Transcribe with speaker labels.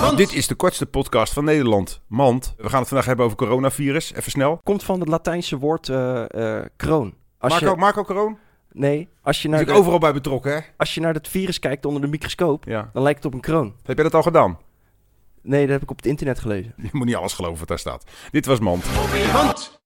Speaker 1: Want dit is de kortste podcast van Nederland. Mand, we gaan het vandaag hebben over coronavirus. Even snel.
Speaker 2: Komt van het Latijnse woord eh, eh, kroon. Als
Speaker 1: Marco,
Speaker 2: je,
Speaker 1: Marco Kroon?
Speaker 2: nee, als je,
Speaker 1: Daar
Speaker 2: naar
Speaker 1: is ik
Speaker 2: de-
Speaker 1: overal bij betrokken, hè?
Speaker 2: als je naar het virus kijkt onder de microscoop,
Speaker 1: Ja.
Speaker 2: dan lijkt het op een kroon.
Speaker 1: Heb jij dat al gedaan?
Speaker 2: Nee, dat heb ik op het internet gelezen.
Speaker 1: Je moet niet alles geloven wat daar staat. Dit was Mand.